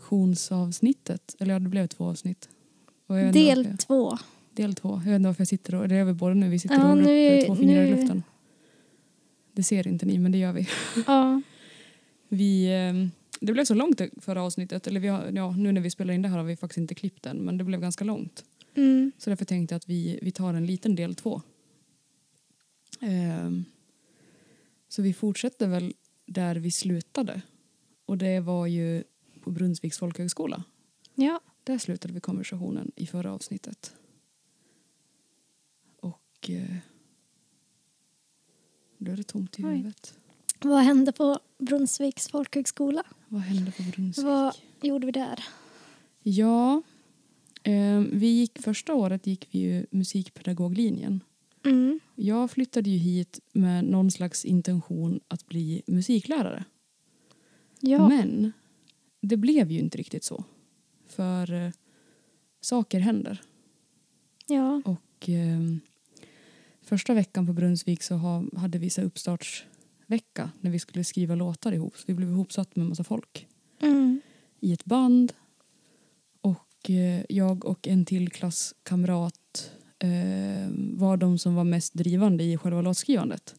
introduktionsavsnittet. Eller ja, det blev två avsnitt. Och jag vet inte varför Del jag- två. Del två. Jag vet inte varför jag sitter och... Det är vi båda nu. Vi sitter Ja, och håller nu- upp eh, två fingrar i nu- luften. Det ser inte ni, men det gör vi. Ja. Vi, eh, det blev så långt det förra avsnittet. Eller vi har, ja, nu när vi spelar in det här har vi faktiskt inte klippt den, men det blev ganska långt. Mm. Så därför tänkte jag att vi, vi tar en liten del två. Ehm, så vi fortsätter väl där vi slutade. Och det var ju på Brunnsviks folkhögskola. Ja. Där slutade vi konversationen i förra avsnittet. Och eh, då är det tomt i Oj. huvudet. Vad hände på Brunnsviks folkhögskola? Vad hände på Brunnsvik? Vad gjorde vi där? Ja, eh, vi gick, första året gick vi ju musikpedagoglinjen. Mm. Jag flyttade ju hit med någon slags intention att bli musiklärare. Ja. Men det blev ju inte riktigt så. För eh, saker händer. ja. Och eh, första veckan på Brunnsvik så ha, hade vi så här uppstartsvecka när vi skulle skriva låtar ihop. Så vi blev ihopsatt med en massa folk Mm. i ett band. Och eh, jag och en till klasskamrat eh, var de som var mest drivande i själva låtskrivandet.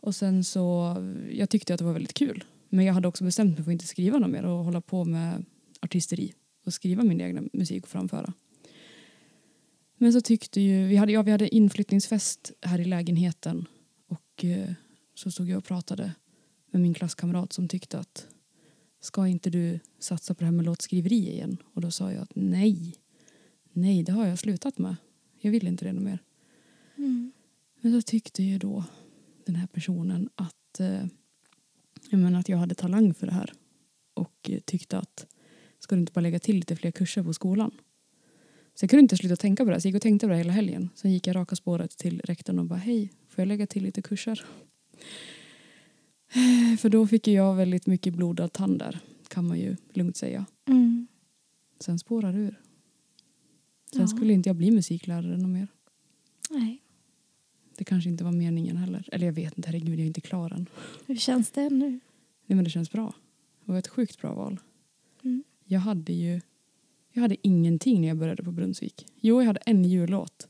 Och sen så, jag tyckte att det var väldigt kul. Men jag hade också bestämt mig för att inte skriva något mer och hålla på med artisteri och skriva min egen musik och framföra. Men så tyckte ju, vi hade, ja, vi hade inflyttningsfest här i lägenheten och eh, så stod jag och pratade med min klasskamrat som tyckte att ska inte du satsa på det här med låtskriveri igen? Och då sa jag att nej, nej det har jag slutat med. Jag vill inte det något mer. Mm. Men så tyckte ju då den här personen att, eh, jag menar, att jag hade talang för det här. Och eh, tyckte att ska du inte bara lägga till lite fler kurser på skolan? Så jag kunde inte sluta tänka på det här. Så jag gick och tänkte på det här hela helgen. Sen gick jag raka spåret till rektorn och bara hej, får jag lägga till lite kurser? Eh, För då fick ju jag väldigt mycket blodad tand där, kan man ju lugnt säga. Mm. Sen spårar det ur. Sen Ja. skulle inte jag bli musiklärare något mer. Nej. Det kanske inte var meningen heller. Eller jag vet inte, herregud jag är inte klar än. Hur känns det nu? Nej men det känns bra. Det var ett sjukt bra val. Mm. Jag hade ju jag hade ingenting när jag började på Brunnsvik. Jo, jag hade en jullåt.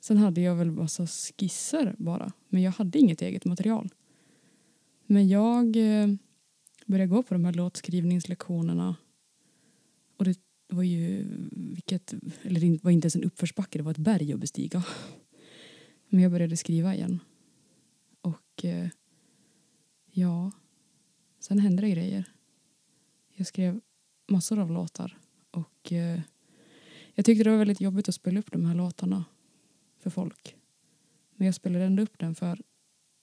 Sen hade jag väl massa skisser bara. Men jag hade inget eget material. Men jag eh, började gå på de här låtskrivningslektionerna. Och det var ju, vilket, eller det var inte ens en uppförsbacke, det var ett berg att bestiga. Men jag började skriva igen. Och eh, ja, sen hände det grejer. Jag skrev massor av låtar och eh, jag tyckte det var väldigt jobbigt att spela upp de här låtarna för folk. Men jag spelade ändå upp den för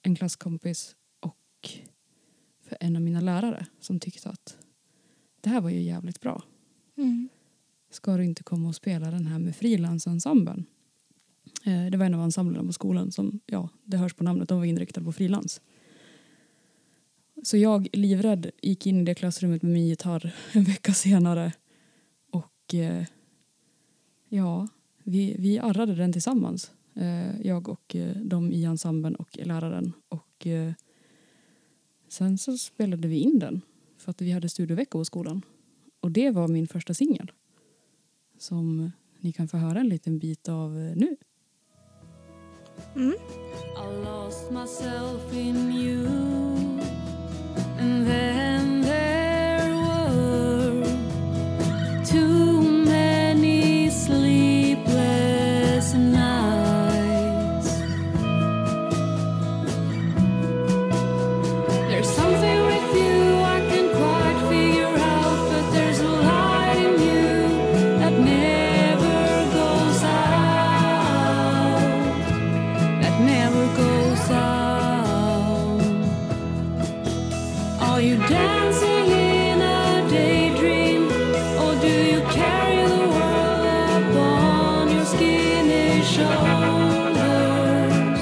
en klasskompis och för en av mina lärare som tyckte att det här var ju jävligt bra. Mm. Ska du inte komma och spela den här med frilansensemblen? Eh, det var en av ensemblerna på skolan som, ja, det hörs på namnet, de var inriktade på frilans. Så jag, livrädd, gick in i det klassrummet med min gitarr en vecka senare. Och eh, ja, vi, vi arrade den tillsammans. Eh, jag och eh, de i ensemblen och läraren. Och eh, sen så spelade vi in den för att vi hade studievecka på skolan. Och det var min första singel som ni kan få höra en liten bit av eh, nu. Mm. I lost myself in you, and then there were too many sleepless nights. There's something with you I can't quite figure out, but there's a light in you that never goes out that never goes out. Are you dancing in a daydream, or do you carry the world upon your skinny shoulders?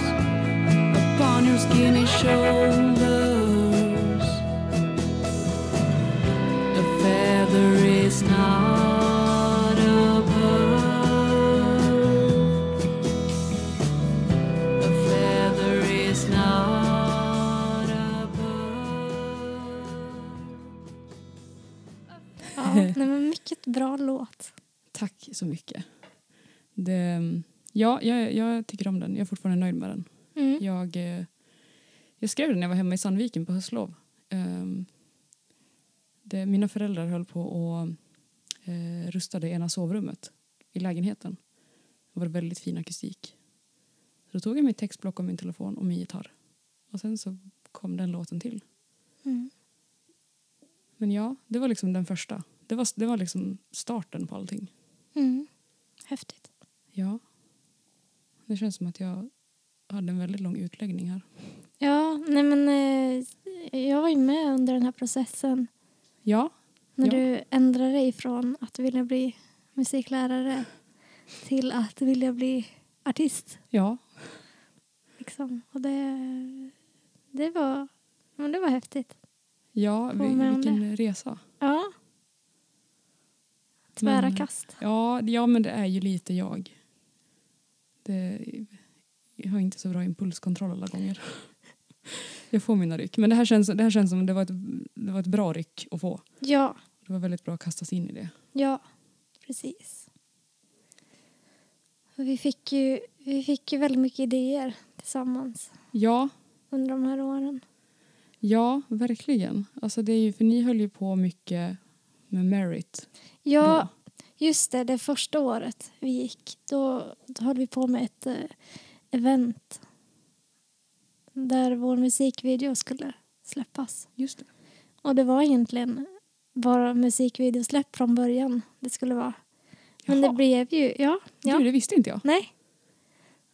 Upon your skinny shoulders, the feather is not a bird. A feather is not a bird. Vilket bra låt. Tack så mycket. Det, ja, jag, jag tycker om den. Jag är fortfarande nöjd med den. Mm. Jag, eh, jag skrev den när jag var hemma i Sandviken på höstlov. Ehm, det, mina föräldrar höll på och eh, rustade ena sovrummet i lägenheten. Det var väldigt fin akustik. Så då tog jag mitt textblock och min telefon och min gitarr. Och sen så kom den låten till. Mm. Men ja, det var liksom den första. Det var, det var liksom starten på allting. Mm. Häftigt. Ja. Det känns som att jag hade en väldigt lång utläggning här. Ja, nej men eh, jag var ju med under den här processen. Ja, När Ja. du ändrade dig från att vilja bli musiklärare till att vilja bli artist. ja, Liksom. Och det, det, var, men det var häftigt. ja. Håll med Vi, om vilken resa. Ja. Tvära Men- kast. Ja, det- ja, men det är ju lite jag. Det, jag har inte så bra impulskontroll alla gånger. Jag får mina ryck. Men det här känns, det här känns som det var, ett, det var ett bra ryck att få. Ja, Det var väldigt bra att kastas in i det. ja, precis. Och vi, fick ju, vi fick ju väldigt mycket idéer tillsammans Ja, under de här åren. ja verkligen. Alltså det är ju, för ni höll ju på mycket med merit. Ja, då. Just det, det första året vi gick, då, då höll vi på med ett eh, event där vår musikvideo skulle släppas. Just det. Och det var egentligen bara musikvideosläpp från början det skulle vara. Men Jaha. det blev ju, ja, ja. Gud, det visste inte jag. nej,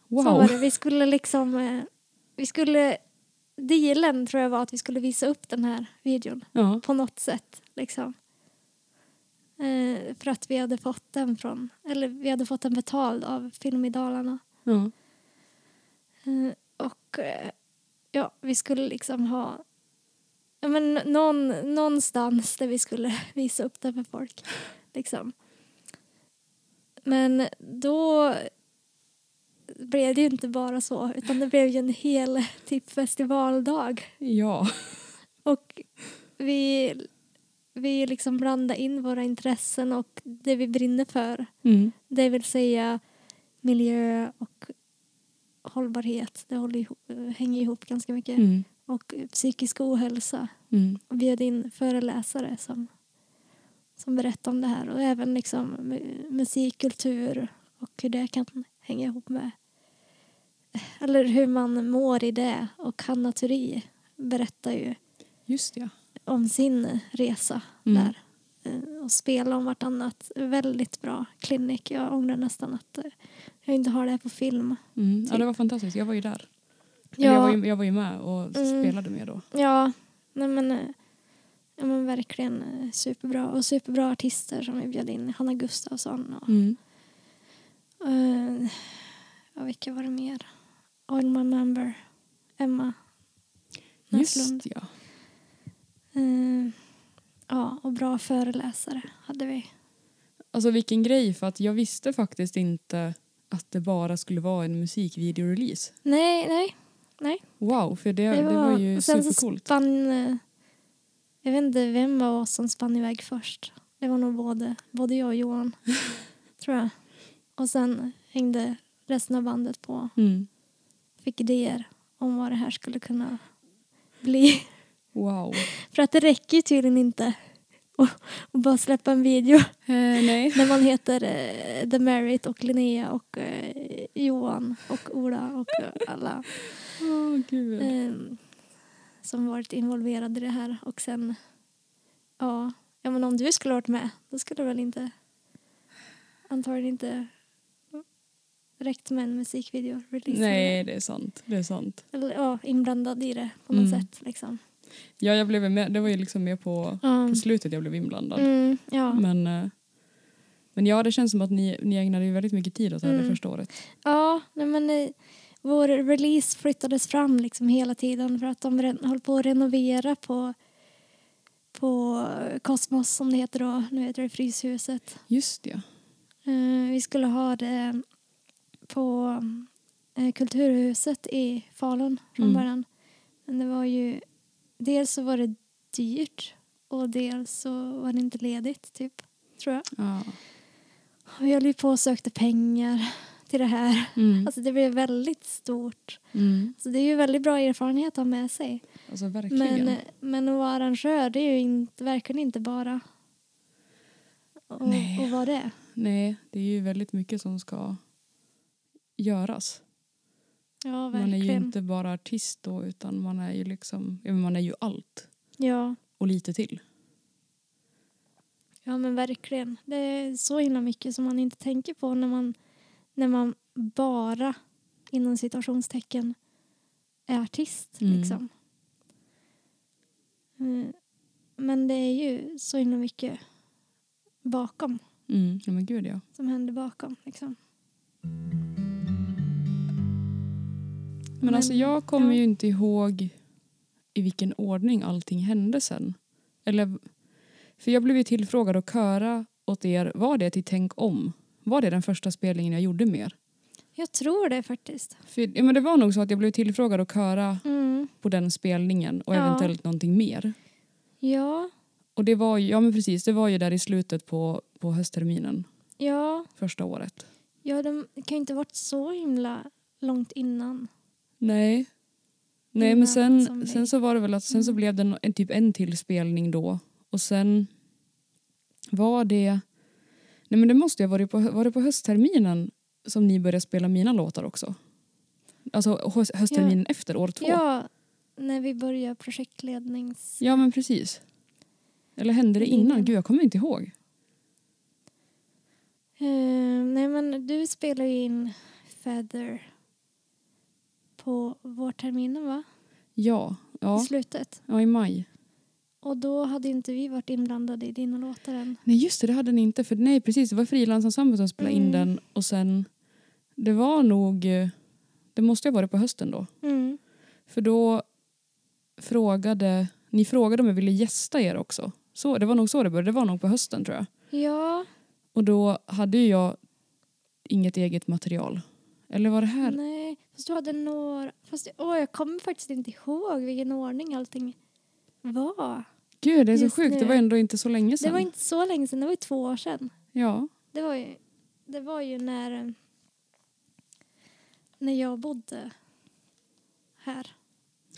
så Wow. var det. Vi skulle liksom, eh, vi skulle, dealen tror jag var att vi skulle visa upp den här videon Ja, på något sätt. Liksom. Eh, för att vi hade fått den från, eller vi hade fått den betald av Film i Dalarna. ja. Eh, och eh, ja, vi skulle liksom ha ja, men någon, någonstans där vi skulle visa upp den för folk. Liksom. Men då blev det ju inte bara så, utan det blev ju en hel typ festivaldag. ja. Och vi, vi liksom blandade in våra intressen och det vi brinner för. Mm. Det vill säga miljö och hållbarhet. Det håller ihop, hänger ihop ganska mycket. Mm. Och psykisk ohälsa. Mm. Och bjöd in föreläsare som, som berättade om det här. Och även liksom mu- musik, kultur och hur det kan hänga ihop med. Eller hur man mår i det. Och Hanna Turi berättar ju Just det. om sin resa Mm. där. Eh, Och spela om vartannat. Väldigt bra klinik. Jag ångrar nästan att eh, jag inte har det här på film. Mm. Ja, det var fantastiskt. Jag var ju där. Eller Jag, var ju, jag var ju med och Mm. spelade med då. ja. Nej, men, eh, ja, men verkligen eh, superbra. Och superbra artister som vi bjöd in. Hanna Gustafsson och Mm. eh, ja, vilka var det mer? Oil My Member. Emma Näslund. Just ja. Eh, ja, och bra föreläsare hade vi. Alltså vilken grej för att jag visste faktiskt inte att det bara skulle vara en musikvideorelease. Nej, nej. Wow, för det, Det det, var, var- ju och sen så supercoolt. spann... eh, Jag vet inte vem av oss som spann iväg först. Det var nog både, både jag och Johan, tror jag. Och sen hängde resten av bandet på. Mm. Fick idéer om vad det här skulle kunna bli. Wow. För att det räcker ju tydligen inte att- att bara släppa en video Eh, nej. när man heter eh, The Merit och Linnea och eh, Johan och Ola och eh, alla Åh gud. eh, som varit involverad i det här. Och sen, ja, ja men om du skulle varit med, då skulle det väl inte antagligen inte räckt med en musikvideo. release. nej, det är sant. Det är sant. Eller ja, inblandad i det på något Mm. sätt. Liksom. Ja, jag blev med. Det var ju liksom med på, Ja. på slutet jag blev inblandad. Mm, ja. Men, eh, men ja, det känns som att ni, ni ägnade ju väldigt mycket tid åt det här det Mm. första året. Ja, nej men eh, vår release flyttades fram liksom hela tiden för att de re- höll på att renovera på på Cosmos som det heter då, nu heter det Fryshuset. Just det. Eh, vi skulle ha det på eh, Kulturhuset i Falun från Mm. början. Men det var ju... Dels så var det dyrt och dels så var det inte ledigt, typ. tror jag. Ja. Och vi höll ju på och sökte pengar till det här. Mm. Alltså det blev väldigt stort. Mm. Så det är ju väldigt bra erfarenhet att ha med sig. Alltså verkligen. Men, eh, men att vara arrangör det är ju inte, verkligen inte bara och, Nej. och vad det är. Nej, det är ju väldigt mycket som ska göras. Ja, Man är verkligen. ju inte bara artist då utan man är ju liksom, ja, men man är ju allt ja, och lite till. ja, men verkligen. Det är så himla mycket som man inte tänker på när man, när man bara, inom citationstecken, är artist. Mm. Liksom. Mm. Men det är ju så himla mycket bakom, Mm. Ja men gud ja. som händer bakom. Liksom. Men, Men, alltså jag kommer ja. ju inte ihåg i vilken ordning allting hände sen. Eller, för jag blev ju tillfrågad att köra åt er, var det till Tänk om? Var det den första spelningen jag gjorde med er? Jag tror det faktiskt. För, ja, men det var nog så att jag blev tillfrågad att köra Mm. på den spelningen och Ja. eventuellt någonting mer. Ja, Och det var ju, ja men precis, det var ju där i slutet på, på höstterminen ja. första året. Ja, de det kan ju inte ha varit så himla långt innan. Nej. Nej Innan men som Mm. sen, dig. sen så var det väl att sen så blev det en, en, typ en till spelning då och sen var det Nej men det måste ju ha varit på, var det på höstterminen som ni började spela mina låtar också. Alltså hö- höstterminen efter år två. Ja, när vi började projektlednings... Ja, men precis. Eller hände det innan? Linjen. Gud jag kommer inte ihåg. Eh, nej, men du spelar ju in Feather på vårterminen, va? Ja, I ja, slutet. ja i maj. Och då hade inte vi varit inblandade i dina låtar än. Nej just det, det hade ni inte. För nej precis, det var frilansensemblen som spelade in Mm. den och sen det var nog, eh, det måste ju ha varit på hösten då. Mm. För då frågade, ni frågade om jag ville gästa er också. Så, det var nog så det började, det var nog på hösten tror jag. Ja, Och då hade ju jag inget eget material. Eller var det här? nej. Fast du hade några... Fast, åh, jag kommer faktiskt inte ihåg vilken ordning allting var. Gud det är så Just sjukt, nu. det var ändå inte så länge sedan. Det var inte så länge sedan, det var ju två år sedan. Ja, Det var ju, det var ju när, eh, när jag bodde här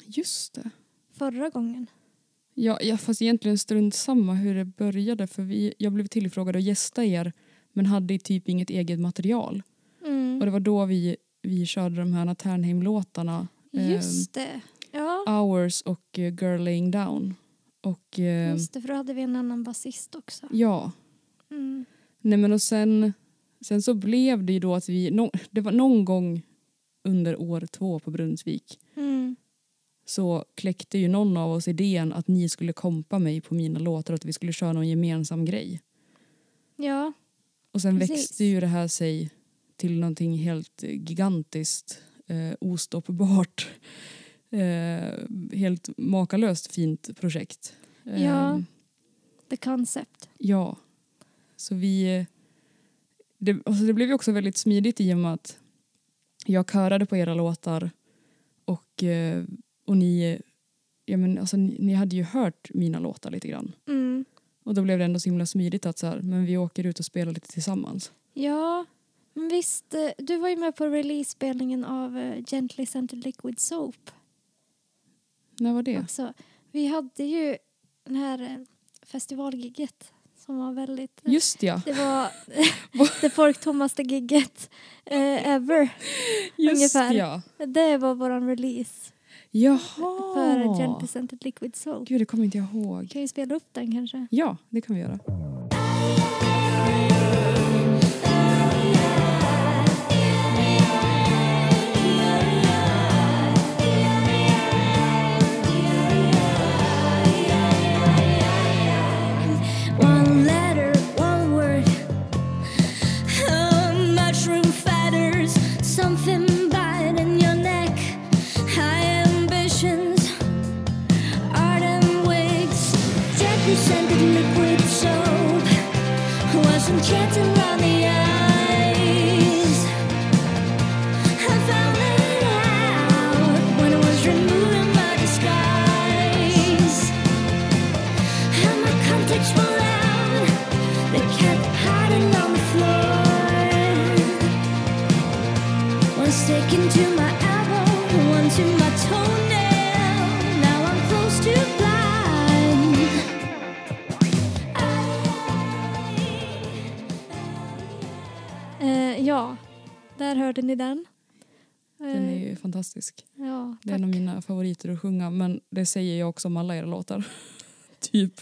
just det. förra gången. Ja, ja, fast egentligen strunt samma hur det började för vi, jag blev tillfrågad att gästa er men hade typ inget eget material. Mm. Och det var då vi, vi körde de här Ternheim-låtarna. ehm, Just det. Ja, Hours och eh, Girl Laying Down. Och eh, just det, för då hade vi en annan basist också. ja, Mm. nej men och sen, sen så blev det ju då att vi, nå- det var någon gång under år två på Brunnsvik Mm. så kläckte ju någon av oss idén att ni skulle kompa mig på mina låtar och att vi skulle köra någon gemensam grej. Ja, Och sen Precis. växte ju det här sig till någonting helt eh, gigantiskt, eh, ostoppbart, eh, helt makalöst fint projekt. Ja. Ehm, the concept. ja. Så vi... eh, Det, alltså det blev ju också väldigt smidigt i och med att jag körade på era låtar och, eh, och ni, ja men alltså, ni, ni hade ju hört mina låtar lite grann. Mm. Och då blev det ändå så himla smidigt att så här, men vi åker ut och spelar lite tillsammans. Ja, men visst. eh, Du var ju med på release-spelningen av eh, Gently Scented Liquid Soap. När var det? också. Vi hade ju den här eh, festivalgigget som var väldigt... eh, Just ja. Det var det folktommaste gigget eh, ever. Just Ungefär. ja. Det var vår release Jaha. för Gently Scented Liquid Soap. Gud, det kommer inte jag Vi ihåg. kan ju spela upp den kanske. Ja, det kan vi göra. One letter, one word. Oh, mushroom feathers, something biting your neck. High ambitions, art and wigs. Gently scented liquid soap. to my toenail. Now I'm close to blind. Eh, ja, där hörde ni den. Eh, Den är ju fantastisk. ja, Det är en av tack. mina favoriter att sjunga men det säger jag också om alla era låtar. typ.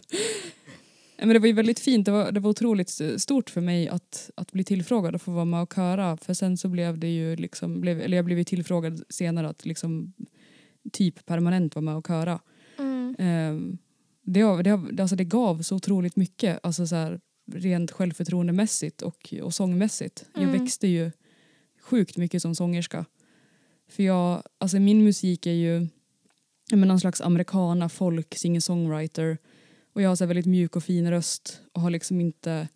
Nej, Men det var ju väldigt fint, det var, det var otroligt stort för mig att, att bli tillfrågad och få vara med och köra för sen så blev det ju liksom, blev, eller jag blev ju tillfrågad senare att liksom typ permanent vara med och köra. Mm. Ehm, det, har- det, har- det- alltså det gav så otroligt mycket, alltså så här, rent självförtroendemässigt och, och sångmässigt. Jag Mm. växte ju sjukt mycket som sångerska. För jag, alltså min musik är ju jag menar, någon slags amerikana, folk, singer-songwriter. Och jag har så här väldigt mjuk och fin röst och har liksom inte,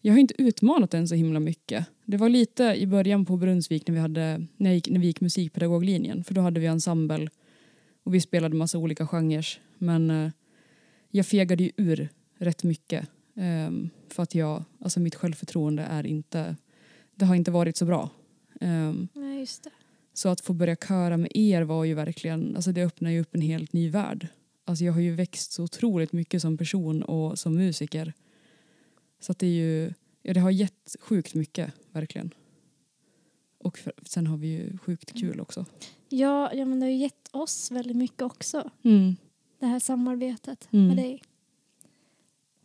jag har inte utmanat den så himla mycket. Det var lite i början på Brunnsvik när vi, hade, när jag gick, när vi gick musikpedagoglinjen för då hade vi ensemble och vi spelade massa olika genrer. Men eh, jag fegade ju ur rätt mycket. ehm, för att jag, alltså mitt självförtroende är inte, det har inte varit så bra. Ehm, Nej, just det. så att få börja köra med er var ju verkligen, alltså det öppnar ju upp en helt ny värld. Alltså jag har ju växt så otroligt mycket som person och som musiker. Så att det är ju, ja det har gett sjukt mycket, verkligen. Och för, sen har vi ju sjukt kul också. Ja, ja, men det har ju gett oss väldigt mycket också. Mm. Det här samarbetet Mm. med dig.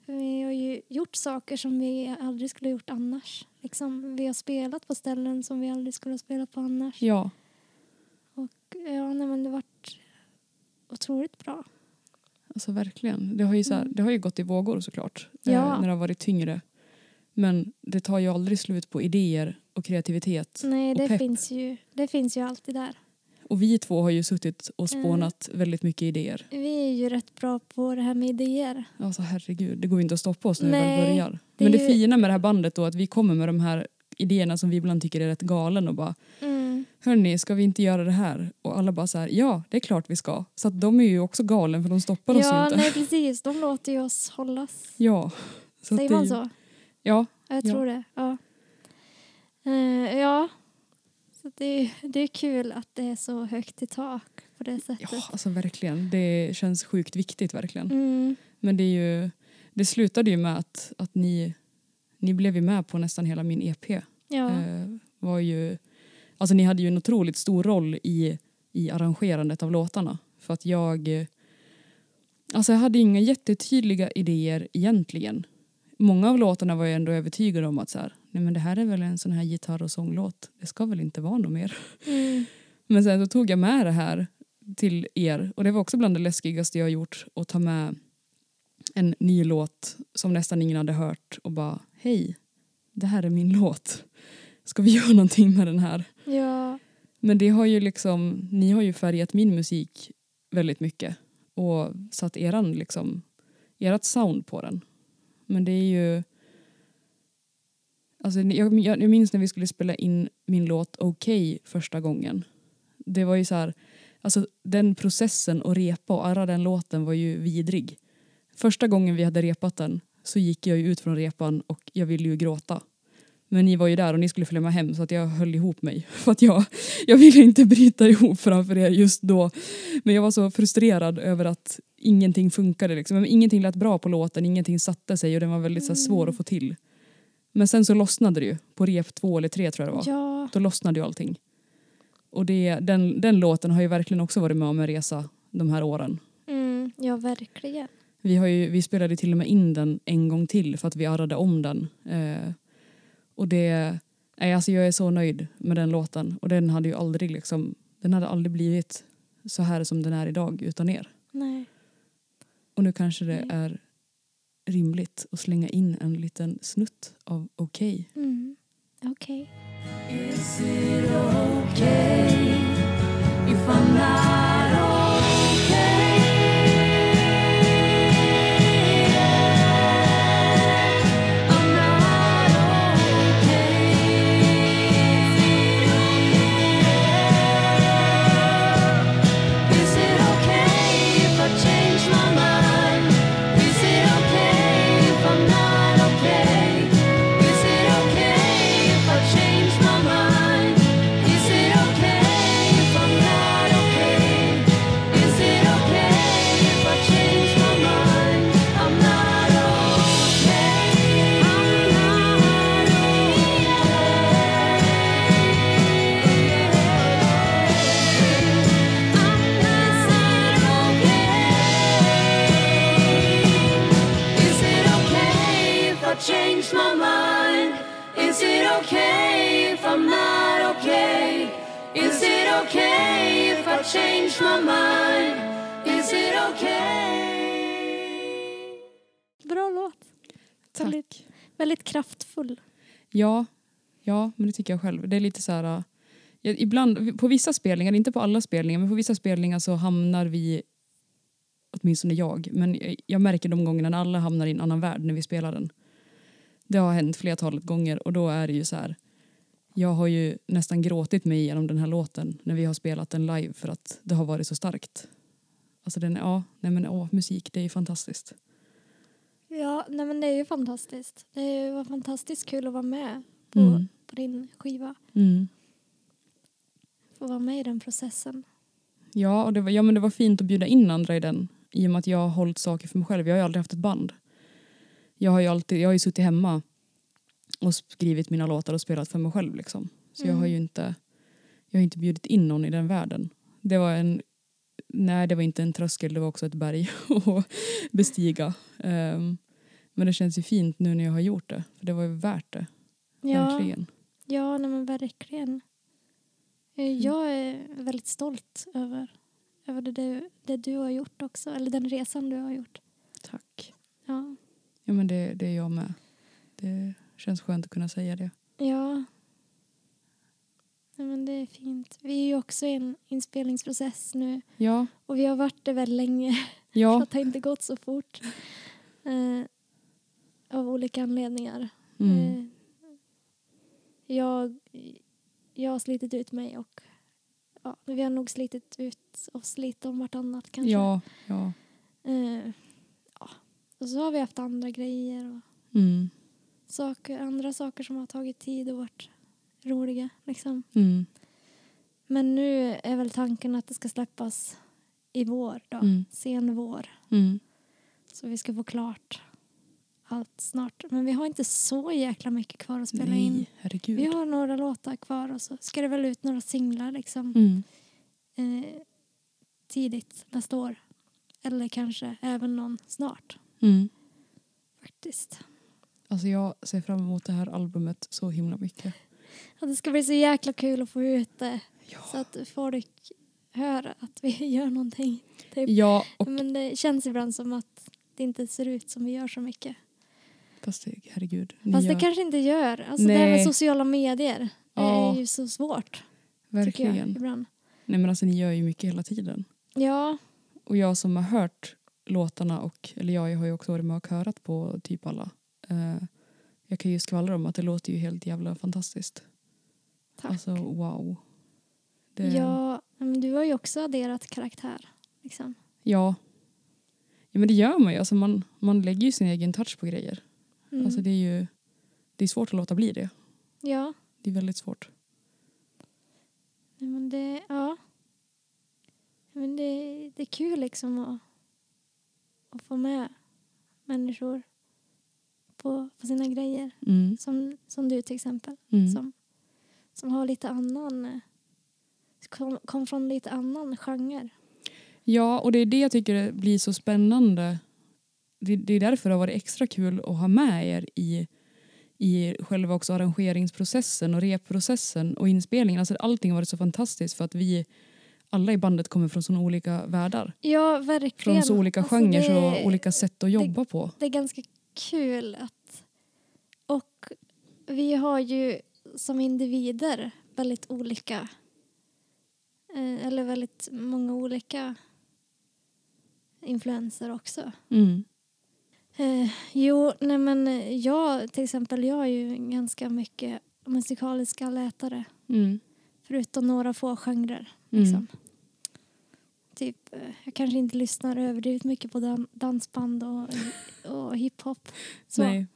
För Vi har ju gjort saker som vi aldrig skulle ha gjort annars. Liksom, vi har spelat på ställen som vi aldrig skulle ha spelat på annars. Ja, Ja, nej, men det har varit otroligt bra. alltså verkligen. Det har ju, så här, Mm. det har ju gått i vågor såklart. Ja. Eh, när det har varit tyngre. Men det tar ju aldrig slut på idéer och kreativitet. Nej, Och det pepp. finns, ju, det finns ju alltid där. Och vi två har ju suttit och Mm. spånat väldigt mycket idéer. Vi är ju rätt bra på det här med idéer. Alltså herregud, det går ju inte att stoppa oss när vi Nej, väl börjar. det Men är det ju- fina med det här bandet då är att vi kommer med de här idéerna som vi ibland tycker är rätt galen och bara hörni, ska vi inte göra det här? Och alla bara så här, ja, det är klart vi ska. Så att de är ju också galen för de stoppar oss ju Ja, inte. nej precis. De låter ju oss hållas. Ja. Så att Säger det är man ju- så? Ja, Ja, jag Ja. tror det. Ja. Eh, ja. Så det, är- det är kul att det är så högt i tak på det sättet. ja, alltså verkligen. Det känns sjukt viktigt verkligen. Mm. Men det, är ju, det slutade ju med att, att ni, ni blev ju med på nästan hela min EP. Ja. eh, var ju, alltså ni hade ju en otroligt stor roll i, i arrangerandet av låtarna. För att jag, eh, alltså jag hade inga jättetydliga idéer egentligen. Många av låtarna var jag ändå övertygad om att så här, nej men det här är väl en sån här gitarr och sånglåt. Det ska väl inte vara något mer. Mm. Men sen så tog jag med det här till er och det var också bland det läskigaste jag har gjort att ta med en ny låt som nästan ingen hade hört och bara hej, det här är min låt. Ska vi göra någonting med den här? ja. Men det har ju liksom, ni har ju färgat min musik väldigt mycket och satt eran liksom, erat sound på den. Men det är ju, alltså jag, jag, jag minns när vi skulle spela in min låt Okej första gången. Det var ju så här, alltså den processen att repa och arra den låten var ju vidrig. Första gången vi hade repat den så gick jag ju ut från repan och jag ville ju gråta. Men ni var ju där och ni skulle följa med hem så att jag höll ihop mig. För att jag, jag ville inte bryta ihop framför er just då. Men jag var så frustrerad över att ingenting funkade. Liksom. Men Ingenting lät bra på låten, ingenting satte sig och den var väldigt så här, svår att få till. Men sen så lossnade det ju på rep två eller tre tror jag det var ja. då lossnade ju allting. Och det, den, den låten har ju verkligen också varit med om en resa de här åren. Mm. Ja, verkligen. Vi, har ju, vi spelade till och med in den en gång till för att vi arrade om den. Eh, och det, nej, alltså jag är så nöjd med den låten. Och den hade ju aldrig, liksom, den hade aldrig blivit så här som den är idag utan er. Nej. Och nu kanske det Mm. är rimligt att slänga in en liten snutt av Okej. Mm. Okej. Is it okay if I'm not okay? I'm not okay. Is it okay if I change my mind? Is it okay if I'm not okay? Is it okay if I change my mind? Is it okay if I'm not okay? changed my mind? Is it okay? Bra låt. Tack. Väldigt kraftfull. Ja, ja, men det tycker jag själv. Det är lite så här... äh, ja, Ibland, på vissa spelningar, inte på alla spelningar, men på vissa spelningar så hamnar vi, åtminstone jag, men jag- jag märker de gångerna när alla hamnar i en annan värld när vi spelar den. Det har hänt flertalet gånger och då är det ju så här, jag har ju nästan gråtit mig igenom den här låten när vi har spelat den live för att det har varit så starkt. Alltså den, ja, nej men åh, musik, det är ju fantastiskt. Ja, nej men det är ju fantastiskt. Det är ju- var fantastiskt kul att vara med på, Mm. på din skiva. Mm. Få vara med i den processen. Ja, och det var, ja, men det var fint att bjuda in andra i den. I och med att jag har hållit saker för mig själv. Jag har ju aldrig haft ett band. Jag har ju, alltid, jag har ju suttit hemma och skrivit mina låtar och spelat för mig själv. Liksom. Så jag har ju Mm. inte, jag har inte bjudit in någon i den världen. Det var en, nej det var inte en tröskel, det var också ett berg att bestiga. Ehm, men det känns ju fint nu när jag har gjort det. För det var ju värt det, Ja, verkligen. ja nej men verkligen. Eh, Mm. Jag är väldigt stolt över, över det, du, det du har gjort också. Eller den resan du har gjort. Tack. Ja, Ja men det, det är jag med. Det känns skönt att kunna säga det. ja. Nej, men det är fint. Vi är ju också i en inspelningsprocess nu. Ja, Och vi har varit det väldigt länge. ja. Så att det har inte gått så fort. Eh, av olika anledningar. Mm. Eh, jag, jag har slitit ut mig och ja, vi har nog slitit ut oss lite om vartannat kanske. Ja, ja. Eh, ja. Och så har vi haft andra grejer och Mm. saker, andra saker som har tagit tid och varit roliga. Liksom. Mm. Men nu är väl tanken att det ska släppas i vår då. Mm. Sen vår. Mm. Så vi ska få klart allt snart. Men vi har inte så jäkla mycket kvar att spela in. Nej, herregud. Vi har några låtar kvar och så ska det väl ut några singlar liksom Mm. eh, tidigt nästa år. Eller kanske även någon snart Mm. faktiskt. Alltså jag ser fram emot det här albumet så himla mycket. Och det ska bli så jäkla kul att få ut det så Ja, att folk hör att vi gör någonting. typ. ja och Men det känns ibland som att det inte ser ut som vi gör så mycket. fast det, herregud. ni Fast gör- det kanske inte gör. Alltså det här med Nej. sociala medier det Ja. är ju så svårt. tycker jag Verkligen. ibland. Nej men alltså ni gör ju mycket hela tiden. Ja, Och jag som har hört låtarna och, eller jag, jag har ju också varit med och körat på typ alla. Eh, jag kan ju skvallra om att det låter ju helt jävla fantastiskt. tack. Alltså wow. Det, Ja, men du har ju också adderat karaktär. Liksom. ja. Ja men det gör man ju. Alltså man, man lägger ju sin egen touch på grejer. Mm. Alltså det är ju det är svårt att låta bli det. Ja, Det är väldigt svårt. nej, men det, ja. Men det, det är kul liksom att, att få med människor på, på sina grejer. Mm. Som, som du till exempel. Mm. Som, som har lite annan... eh, Kom, kom från lite annan genre. Ja, och det är det jag tycker det blir så spännande. Det, det är därför det har varit extra kul att ha med er i, i själva också arrangeringsprocessen och repprocessen och inspelningen. Alltså allting har varit så fantastiskt för att vi alla i bandet kommer från så olika världar. Ja, verkligen. Från så olika Alltså, genrer det- och olika sätt att jobba på. det är ganska kul att... Och vi har ju som individer väldigt olika... eh, Eller väldigt många olika influenser också. Mm. Eh, jo, nej men eh, jag till exempel, jag är ju ganska mycket musikaliska lätare. Mm. Förutom några få genrer. Mm. Liksom. Typ, eh, jag kanske inte lyssnar överdrivet mycket på dan- dansband och, och hiphop. Så. Nej.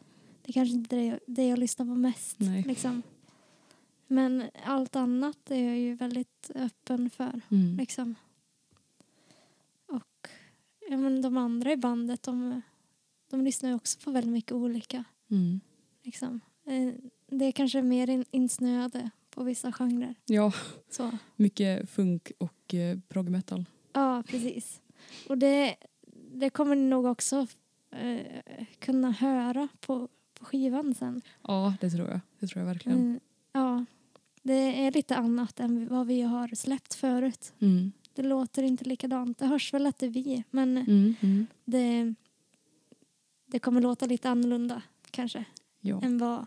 Det kanske inte är det jag, det jag lyssnar på mest. Nej. Liksom. Men allt annat är jag ju väldigt öppen för. Mm. Liksom. Och ja, men de andra i bandet de, de lyssnar ju också på väldigt mycket olika. Mm. Liksom. Eh, Det är kanske mer in, insnöade på vissa genrer. Ja, Så. mycket funk och eh, prog metal. Ja, precis. Och det, det kommer ni nog också eh, kunna höra på, på skivan sen. Ja, det tror jag. Det tror jag verkligen. Mm, ja, det är lite annat än vad vi har släppt förut. Mm. Det låter inte likadant. Det hörs väl att det är vi, men Mm, mm. det, det kommer låta lite annorlunda kanske Ja. än, vad,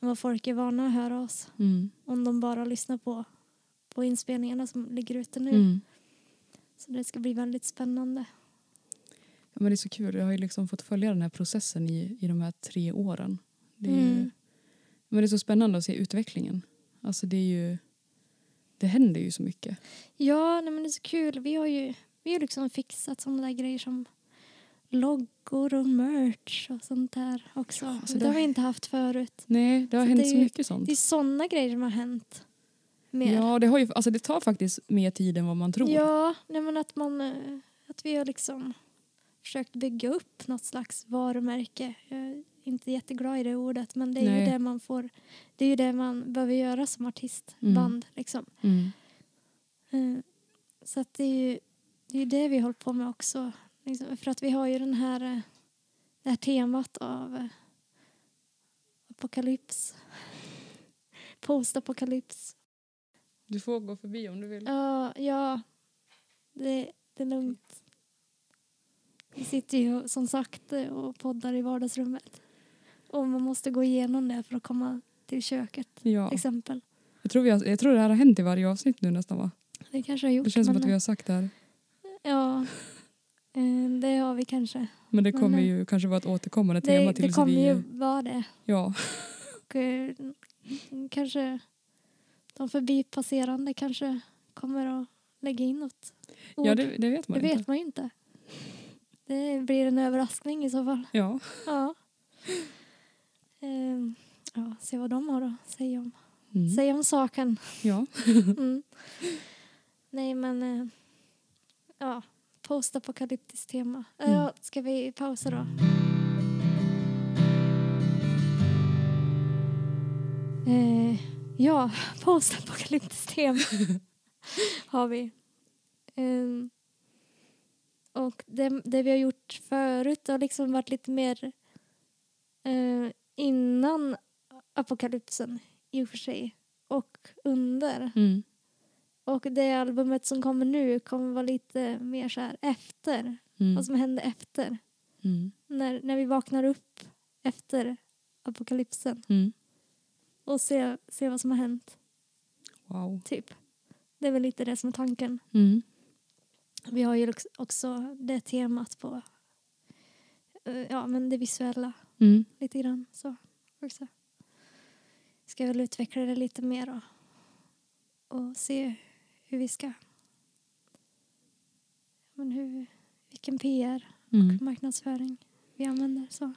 än vad folk är vana att höra oss. Mm. Om de bara lyssnar på, på inspelningarna som ligger ute nu. Mm. Så det ska bli väldigt spännande. Ja, men det är så kul. Jag har ju liksom fått följa den här processen i, i de här tre åren. Det är, ju, Mm. men det är så spännande att se utvecklingen. Alltså det är ju... Det händer ju så mycket. Ja, nej, men det är så kul. Vi har ju vi har liksom fixat sådana där grejer som loggor och merch och sånt där också. alltså det det- har vi inte haft förut. Nej, det har Så hänt det är så ju- mycket sånt. Det är sådana grejer som har hänt. Mer. Ja, det, har ju, alltså det tar faktiskt mer tid än vad man tror. Ja, nej, men att, man, eh, att vi har liksom försökt bygga upp något slags varumärke. Jag är inte jätteglad i det ordet, men det är Nej. ju det man får. Det är ju det man behöver göra som artistband. Mm. Liksom. Mm. Eh, Så att det är ju det, är ju det vi håller på med också. Liksom, för att vi har ju den här, eh, det här temat av eh, apokalyps. Postapokalyps. Du får gå förbi om du vill. Ja, ja. Det, det är lugnt. Vi sitter ju som sagt eh, och poddar i vardagsrummet. Och man måste gå igenom det för att komma till köket Ja. till exempel. Jag, tror vi har, jag tror det här har hänt i varje avsnitt nu nästan va? Det kanske jag har gjort. Det känns som men, att vi har sagt det här. Ja, eh, det har vi kanske. Men det kommer Men, ju kanske vara ett återkommande Mm. Det, tema det tills kommer vi... ju vara det. Ja. Och, eh, kanske de förbipasserande kanske kommer att lägga in något ord. Ja, det, det vet man det inte. vet man ju inte. Det blir en överraskning i så fall. Ja. Ja. Ehm, ja, se vad de har att säga om, Mm. säga om saken. ja. Mm. Nej, men... Eh, ja, postapokalyptiskt tema. Eh, Mm. ska vi pausa då? Eh, ja, postapokalyptiskt tema har vi. Ehm, och det, det vi har gjort förut har liksom varit lite mer eh, innan apokalypsen i och för sig och under. Mm. Och det albumet som kommer nu kommer vara lite mer så här efter. Mm. Vad som hände efter. Mm. När, när vi vaknar upp efter apokalypsen Mm. och ser se vad som har hänt. Wow. Typ. Det är väl lite det som är tanken. Mm. Vi har ju också- också det temat på eh, ja, men det visuella Mm. lite grann. Så också. Ska väl utveckla det lite mer och, och se hur vi ska... Men hur, vilken PR, Mm. marknadsföring vi använder. Så.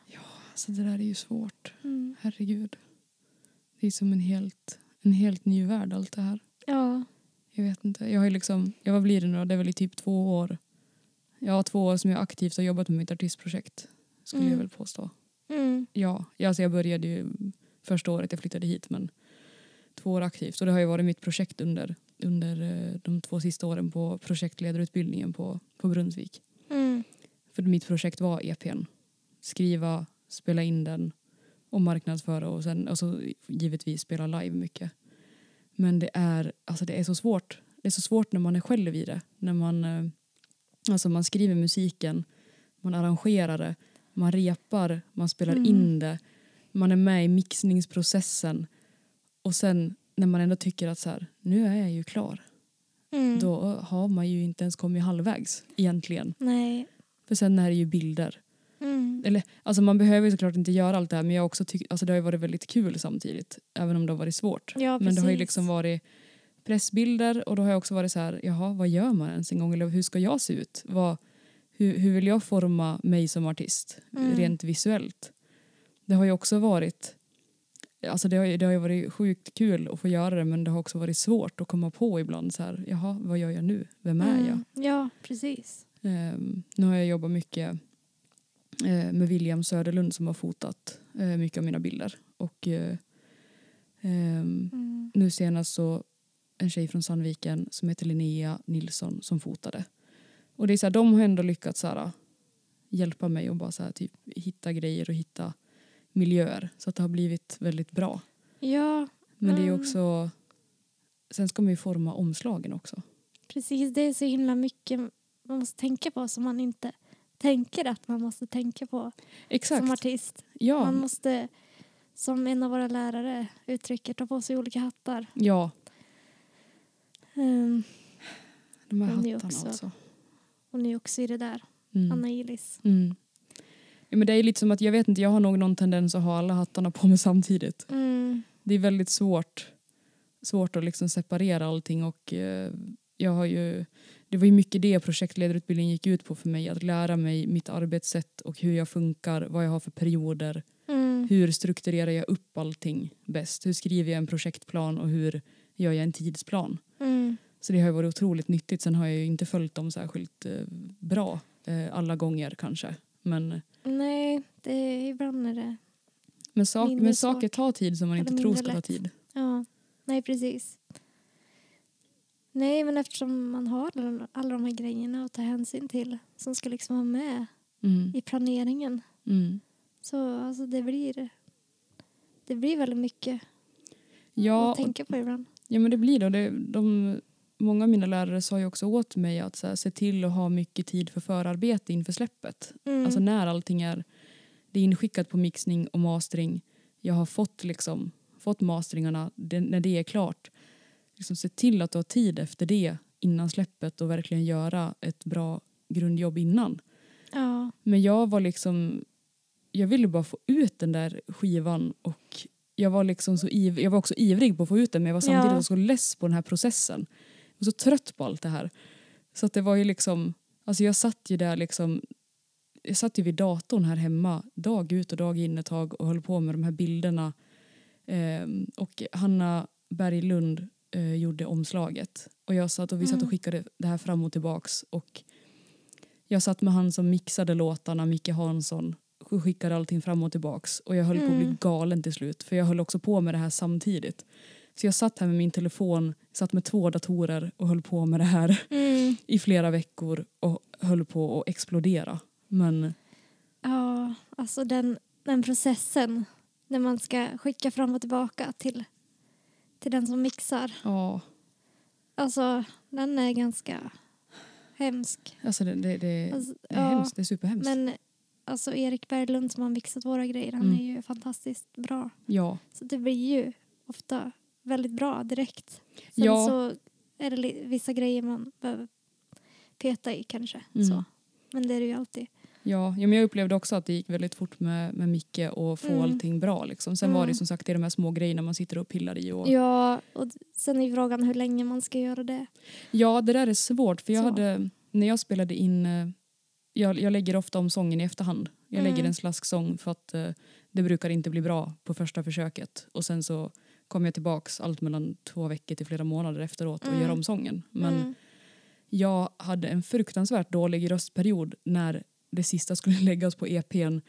Alltså det där är ju svårt. Mm. Herregud. Det är som en helt, en helt ny värld allt det här. Ja. Jag vet inte. Jag har ju liksom, jag vad blir det nu då? Det är väl i typ två år. Ja, två år som jag aktivt har jobbat med mitt artistprojekt. Skulle Mm. jag väl påstå. Mm. Ja, ja, alltså jag började ju första året jag flyttade hit men två år aktivt och det har ju varit mitt projekt under, under eh, de två sista åren på projektledarutbildningen på, på Brunnsvik. Mm. För mitt projekt var EPn. Skriva, spela in den och marknadsföra och sen och så givetvis spela live mycket. Men det är, alltså det är så svårt. Det är så svårt när man är själv i det. När man, eh, alltså man skriver musiken, man arrangerar det, man repar, man spelar Mm. in det, man är med i mixningsprocessen och sen när man ändå tycker att så här, nu är jag ju klar, Mm. då har man ju inte ens kommit halvvägs egentligen. Nej. För sen är det ju bilder. Mm. Eller, alltså man behöver ju såklart inte göra allt det här men jag har också tyck, alltså det har ju varit väldigt kul samtidigt. Även om det har varit svårt. Ja, men det har ju precis. liksom varit pressbilder och då har jag också varit så här, jaha vad gör man ens en gång? Eller hur ska jag se ut? Vad, hur, hur vill jag forma mig som artist? Mm. Rent visuellt. Det har ju också varit Alltså det, har ju, det har ju varit sjukt kul att få göra det men det har också varit svårt att komma på ibland så här, jaha vad gör jag nu? Vem är jag? Mm. Ja, precis. Ehm, nu har jag jobbat mycket eh, med William Söderlund som har fotat eh, mycket av mina bilder. Och eh, ehm, Mm. nu senast så en tjej från Sandviken som heter Linnea Nilsson som fotade. Och det är så här, de har ändå lyckats så här, hjälpa mig och bara så här, typ, hitta grejer och hitta miljöer. Så att det har blivit väldigt bra. Ja, Men det är ju Mm. också... Sen ska man ju forma omslagen också. Precis, det är så himla mycket man måste tänka på som man inte tänker att man måste tänka på Exakt. som artist. ja. Man måste, som en av våra lärare uttrycker, ta på sig olika hattar. ja, Ehm, de här Men det är hattarna alltså. också- också. hon är ju också i det där, Mm. Anna Ilis. Mm. Ja, men det är lite som att jag vet inte, jag har nog någon tendens att ha alla hattarna på mig samtidigt. Mm, Det är väldigt svårt, svårt att liksom separera allting och eh, jag har ju, det var ju mycket det projektledarutbildningen gick ut på för mig, att lära mig mitt arbetssätt och hur jag funkar, vad jag har för perioder, mm, hur strukturerar jag upp allting bäst, hur skriver jag en projektplan och hur gör jag en tidsplan. mm, Så det har ju varit otroligt nyttigt. Sen har jag ju inte följt dem särskilt eh, bra eh, alla gånger kanske. Men, nej, det, är- ibland är det... men, sak, Mindre men saker svårt. tar tid som man Eller inte tror mindre ska ta lätt. tid. Ja, nej precis. Nej, men eftersom man har alla- alla de här grejerna att ta hänsyn till som ska liksom vara med Mm. i planeringen Mm. så alltså, det blir det blir väldigt mycket Ja, att tänka på ibland. ja, men det blir då. Det, de, många av mina lärare sa ju också åt mig att så här, se till att ha mycket tid för förarbete inför släppet. Mm. Alltså när allting är, det är inskickat på mixning och mastering. Jag har fått, liksom, fått masteringarna det, när det är klart. Liksom se till att du har tid efter det innan släppet och verkligen göra ett bra grundjobb innan. ja. Men jag var liksom, jag ville bara få ut den där skivan och jag var liksom så iv, jag var också ivrig på att få ut den men jag var samtidigt Ja. också så less på den här processen. Jag var så trött på allt det här. Så att det var ju liksom, alltså jag satt ju där liksom, jag satt ju vid datorn här hemma dag ut och dag in ett tag och höll på med de här bilderna. Ehm, och Hanna Berglund eh, gjorde omslaget och jag satt och vi satt och Mm. skickade det här fram och tillbaks och jag satt med han som mixade låtarna, Micke Hansson, och skickade allting fram och tillbaks. Och jag höll på att bli Mm. galen till slut, för jag höll också på med det här samtidigt. Så jag satt här med min telefon, satt med två datorer och höll på med det här Mm. i flera veckor och höll på att explodera. Men ja, alltså den, den processen när man ska skicka fram och tillbaka till, till den som mixar. ja, Alltså den är ganska hemsk. alltså det, det, det, Alltså, det är hemskt, det är superhemskt. Men alltså Erik Berglund som har mixat våra grejer, han Mm. är ju fantastiskt bra. ja, Så det blir ju ofta väldigt bra direkt. Sen Ja. så är det li- vissa grejer man behöver peta i kanske. Mm. Så. Men det är det ju alltid. ja, ja, men jag upplevde också att det gick väldigt fort med, med Micke och få Mm. allting bra. Liksom. Sen var det Mm. som sagt det är de här små grejerna man sitter och pillar i. Och, Ja, och d- sen är frågan hur länge man ska göra det. Ja, det där är svårt. För jag Så. hade, när jag spelade in, eh, jag, jag lägger ofta om sången i efterhand. Jag Mm. lägger en slasksång för att eh, det brukar inte bli bra på första försöket. Och sen så kommer jag tillbaks allt mellan två veckor till flera månader efteråt och Mm. gör om sången. Men Mm. jag hade en fruktansvärt dålig röstperiod när det sista skulle läggas på EPn.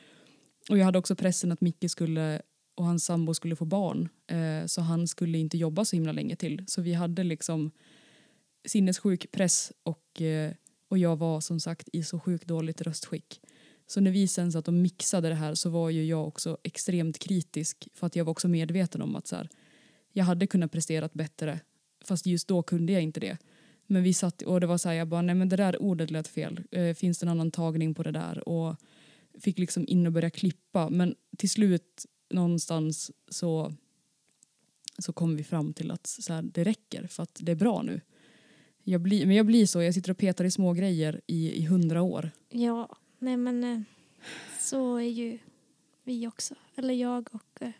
Och jag hade också pressen att Micke skulle och hans sambo skulle få barn eh, så han skulle inte jobba så himla länge till. Så vi hade liksom sinnessjuk press och, eh, och jag var som sagt i så sjukt dåligt röstskick. Så när vi sen satt och mixade det här så var ju jag också extremt kritisk för att jag var också medveten om att så här, jag hade kunnat presterat bättre fast just då kunde jag inte det. Men vi satt och det var så här, jag bara, nej men det där ordet lät fel. Eh, finns det en annan tagning på det där? Och fick liksom in och börja klippa. Men till slut någonstans så, så kom vi fram till att så här, det räcker för att det är bra nu. Jag blir, men jag blir så, jag sitter och petar i små grejer i, i hundra år. Ja, nej men eh, så är ju vi också. Eller jag och eh,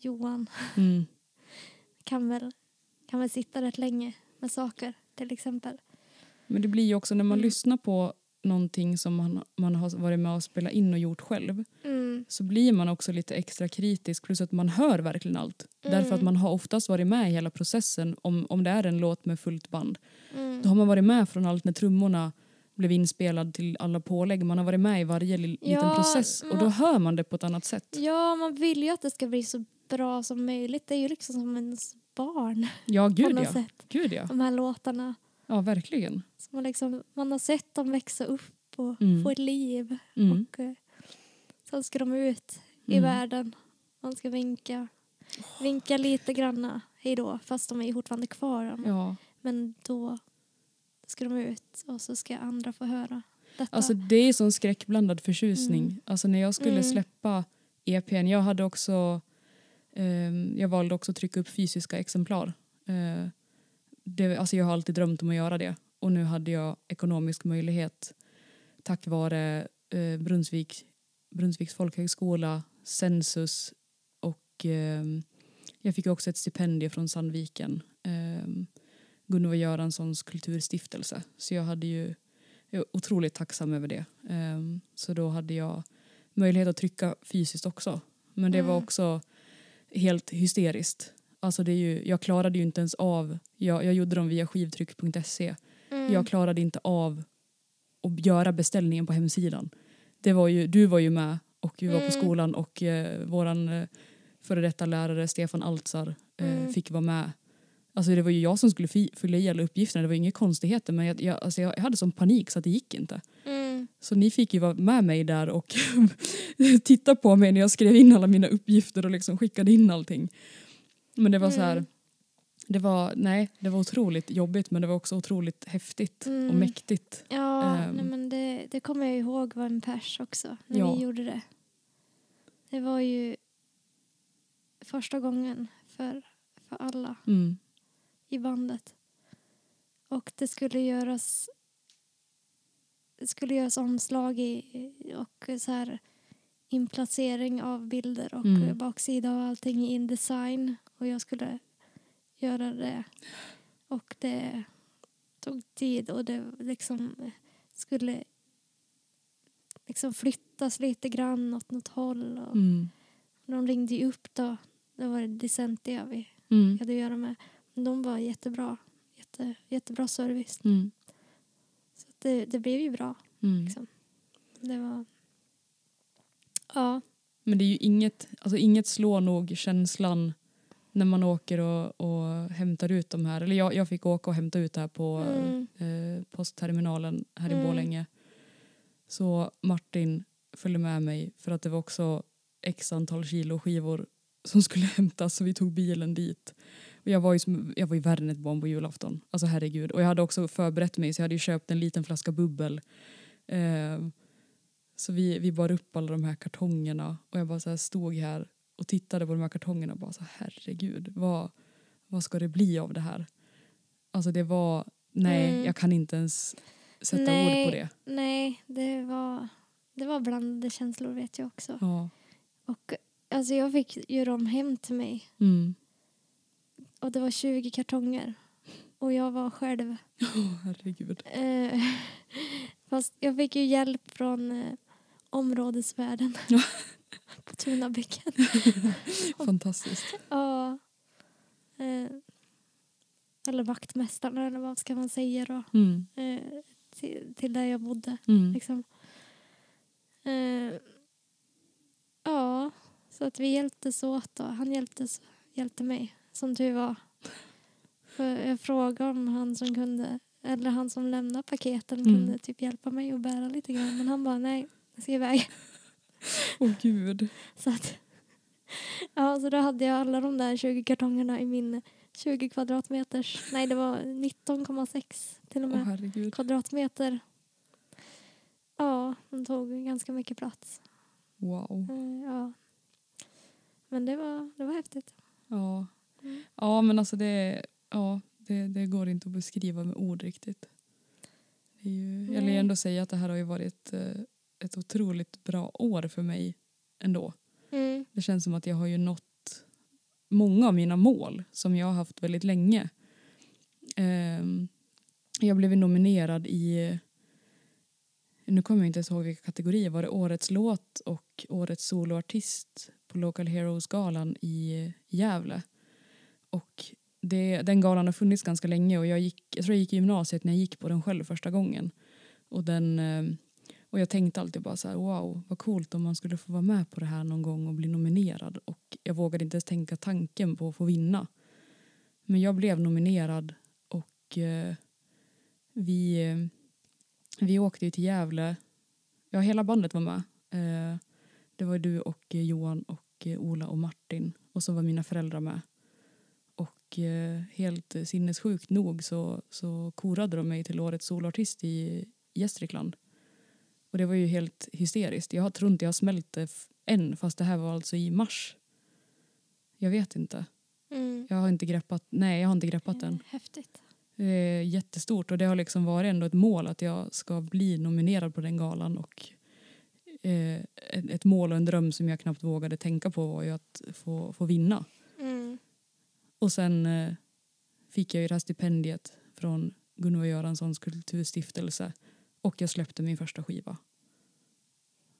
Johan Mm. kan väl, kan väl sitta rätt länge med saker till exempel. Men det blir ju också när man Mm. lyssnar på någonting som man, man har varit med och spelat in och gjort själv Mm. så blir man också lite extra kritisk plus att man hör verkligen allt. Därför att Mm. man har oftast varit med i hela processen om, om det är en låt med fullt band. Mm. Då har man varit med från allt när trummorna blev inspelad till alla pålägg. Man har varit med i varje li- Ja, liten process och då man- hör man det på ett annat sätt. Ja, man vill ju att det ska bli så bra som möjligt. Det är ju liksom som ens barn Ja, på gud något ja. sätt. Gud ja. De här låtarna. Ja, verkligen. Så man, liksom, man har sett dem växa upp och Mm. få ett liv. Mm. Och, eh, sen ska de ut i Mm. världen. Man ska vinka. Vinka lite granna. Hej då. Fast de är ju fortfarande kvar. Ja. Men då ska de ut och så ska andra få höra detta. Alltså det är sån skräckblandad förtjusning. Mm. Alltså när jag skulle Mm. släppa EPn, jag hade också ehm, jag valde också att trycka upp fysiska exemplar. Eh, det, alltså jag har alltid drömt om att göra det och nu hade jag ekonomisk möjlighet tack vare eh, Brunnsvik, Brunnsviks folkhögskola, Sensus och ehm, jag fick också ett stipendium från Sandviken. ehm, Gunvor Göranssons kulturstiftelse. Så jag hade ju jag är otroligt tacksam över det. Ehm, så då hade jag möjlighet att trycka fysiskt också. Men det var Mm. också helt hysteriskt. Alltså det är ju, jag klarade ju inte ens av, jag, jag gjorde dem via skivtryck.se. Mm. Jag klarade inte av att göra beställningen på hemsidan. Det var ju, du var ju med och vi var på Mm. skolan och eh, våran eh, före detta lärare Stefan Altsar eh, Mm. fick vara med. Alltså det var ju jag som skulle fi- fylla i alla uppgifterna, det var ju inga konstigheter men jag, jag, alltså jag hade sån panik så att det gick inte. mm. Så ni fick ju vara med mig där och titta på mig när jag skrev in alla mina uppgifter och liksom skickade in allting. Men det var så här, Mm. det var, nej, det var otroligt jobbigt men det var också otroligt häftigt och Mm. mäktigt. Ja, Ehm. nej, men det, det kommer jag ihåg var en pers också när Ja. vi gjorde det. Det var ju första gången för, för alla Mm. i bandet. Och det skulle göras det skulle göras omslag i, och så här inplacering av bilder och Mm. baksida och allting i Indesign. Och jag skulle göra det. Och det tog tid och det liksom skulle liksom flyttas lite grann åt något håll. Och Mm. De ringde ju upp då. Då var det Disentia vi Mm. hade att göra med. De var jättebra. Jätte, jättebra service. Mm. Så att det, det blev ju bra. Mm. Liksom. Det var... Ja. Men det är ju inget, alltså inget slår nog känslan när man åker och, och hämtar ut de här. Eller jag, jag fick åka och hämta ut det här på Mm. eh, postterminalen här i Mm. Borlänge. Så Martin följde med mig för att det var också x antal kilo skivor som skulle hämtas så vi tog bilen dit. Och jag var ju, som, jag var ju värre än ett barn på julafton. Alltså herregud. Och jag hade också förberett mig så jag hade ju köpt en liten flaska bubbel. Eh, så vi, vi bar upp alla de här kartongerna och jag bara så här stod här och tittade på de här kartongerna och bara så här, herregud vad, vad ska det bli av det här? Alltså det var, nej Mm. jag kan inte ens sätta Nej. ord på det. Nej, det var, det var blandade känslor vet jag också. Ja. Och alltså jag fick ju dem hem till mig. Mm. Och det var 20 kartonger. Och jag var själv. Åh, herregud. Eh, fast jag fick ju hjälp från eh, områdesvärden. på Tunabycken. Fantastiskt. Ja. Eh, eller vaktmästaren eller vad ska man säga då. Mm. Eh, till, till där jag bodde. Mm. Liksom. Eh, ja, så att vi hjälptes åt då. Han hjälptes, hjälpte mig, som tur var. För jag frågade om han som kunde, eller han som lämnade paketen Mm. kunde typ hjälpa mig att bära lite grann. Men han bara nej, jag ska iväg. Åh gud. Så att, ja, så då hade jag alla de där 20 kartongerna i min 20 kvadratmeters, nej det var 19,6 till och Åh med herregud. kvadratmeter. Ja, de tog ganska mycket plats. Wow. Eh, Ja. Men det var, det var häftigt. Ja. Mm. Ja men alltså det, ja, det, det går inte att beskriva med ord riktigt. Det är ju, jag vill Nej. ju ändå säga att det här har ju varit eh, ett otroligt bra år för mig ändå. Mm. Det känns som att jag har ju nått många av mina mål som jag har haft väldigt länge. Ehm, jag blev ju nominerad i, nu kommer jag inte ens ihåg vilka kategorier, var det årets låt och årets soloartist på Local Heroes-galan i Gävle. Och det, den galan har funnits ganska länge och jag, gick, jag tror jag gick i gymnasiet när jag gick på den själv första gången. Och den... ehm, och jag tänkte alltid bara så här, wow, vad coolt om man skulle få vara med på det här någon gång och bli nominerad. Och jag vågade inte ens tänka tanken på att få vinna. Men jag blev nominerad och eh, vi, eh, vi åkte ju till Gävle. Ja, hela bandet var med. Eh, det var ju du och eh, Johan och eh, Ola och Martin. Och så var mina föräldrar med. Och eh, helt sinnessjukt nog så, så korade de mig till årets solartist i Gästrikland. Och det var ju helt hysteriskt. Jag har- tror inte jag har smält det f- än fast det här var alltså i mars. Jag vet inte. Mm. Jag har inte greppat, nej jag har inte greppat den. Häftigt. Det är jättestort och det har liksom varit ändå ett mål att jag ska bli nominerad på den galan och eh, ett ett mål och en dröm som jag knappt vågade tänka på var ju att få, få vinna. Mm. Och sen eh, fick jag ju det här stipendiet från Gunvor Göranssons kulturstiftelse och jag släppte min första skiva.